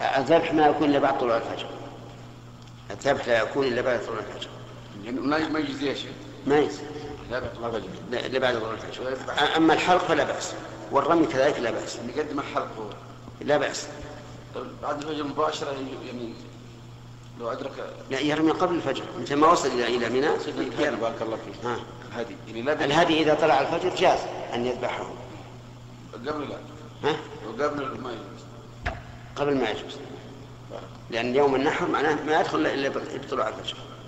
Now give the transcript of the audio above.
الذبح ما يكون إلا بعد طلوع الفجر الذبح لا يكون إلا بعد طلوع الفجر يعني ما ما يجزي يا شيخ ما يصير لا بأس ما بجزي إلا بعد طلوع الفجر أما الحلق فلا بأس والرمي كذلك لا بأس نقدم الحلق هو لا بأس يعني طيب بعد الفجر مباشرة يجي- يعني لو أدرك لا يرمي قبل الفجر مثل ما وصل إلى إلى منى الهدي بارك الله فيك ها. الهدي يعني لا بد- الهدي إذا طلع الفجر جاز أن يذبحه قبل لا ها وقبل ما يجوز قبل ما يجوز لأن يوم النحر معناه ما يدخل إلا بطلوع الفجر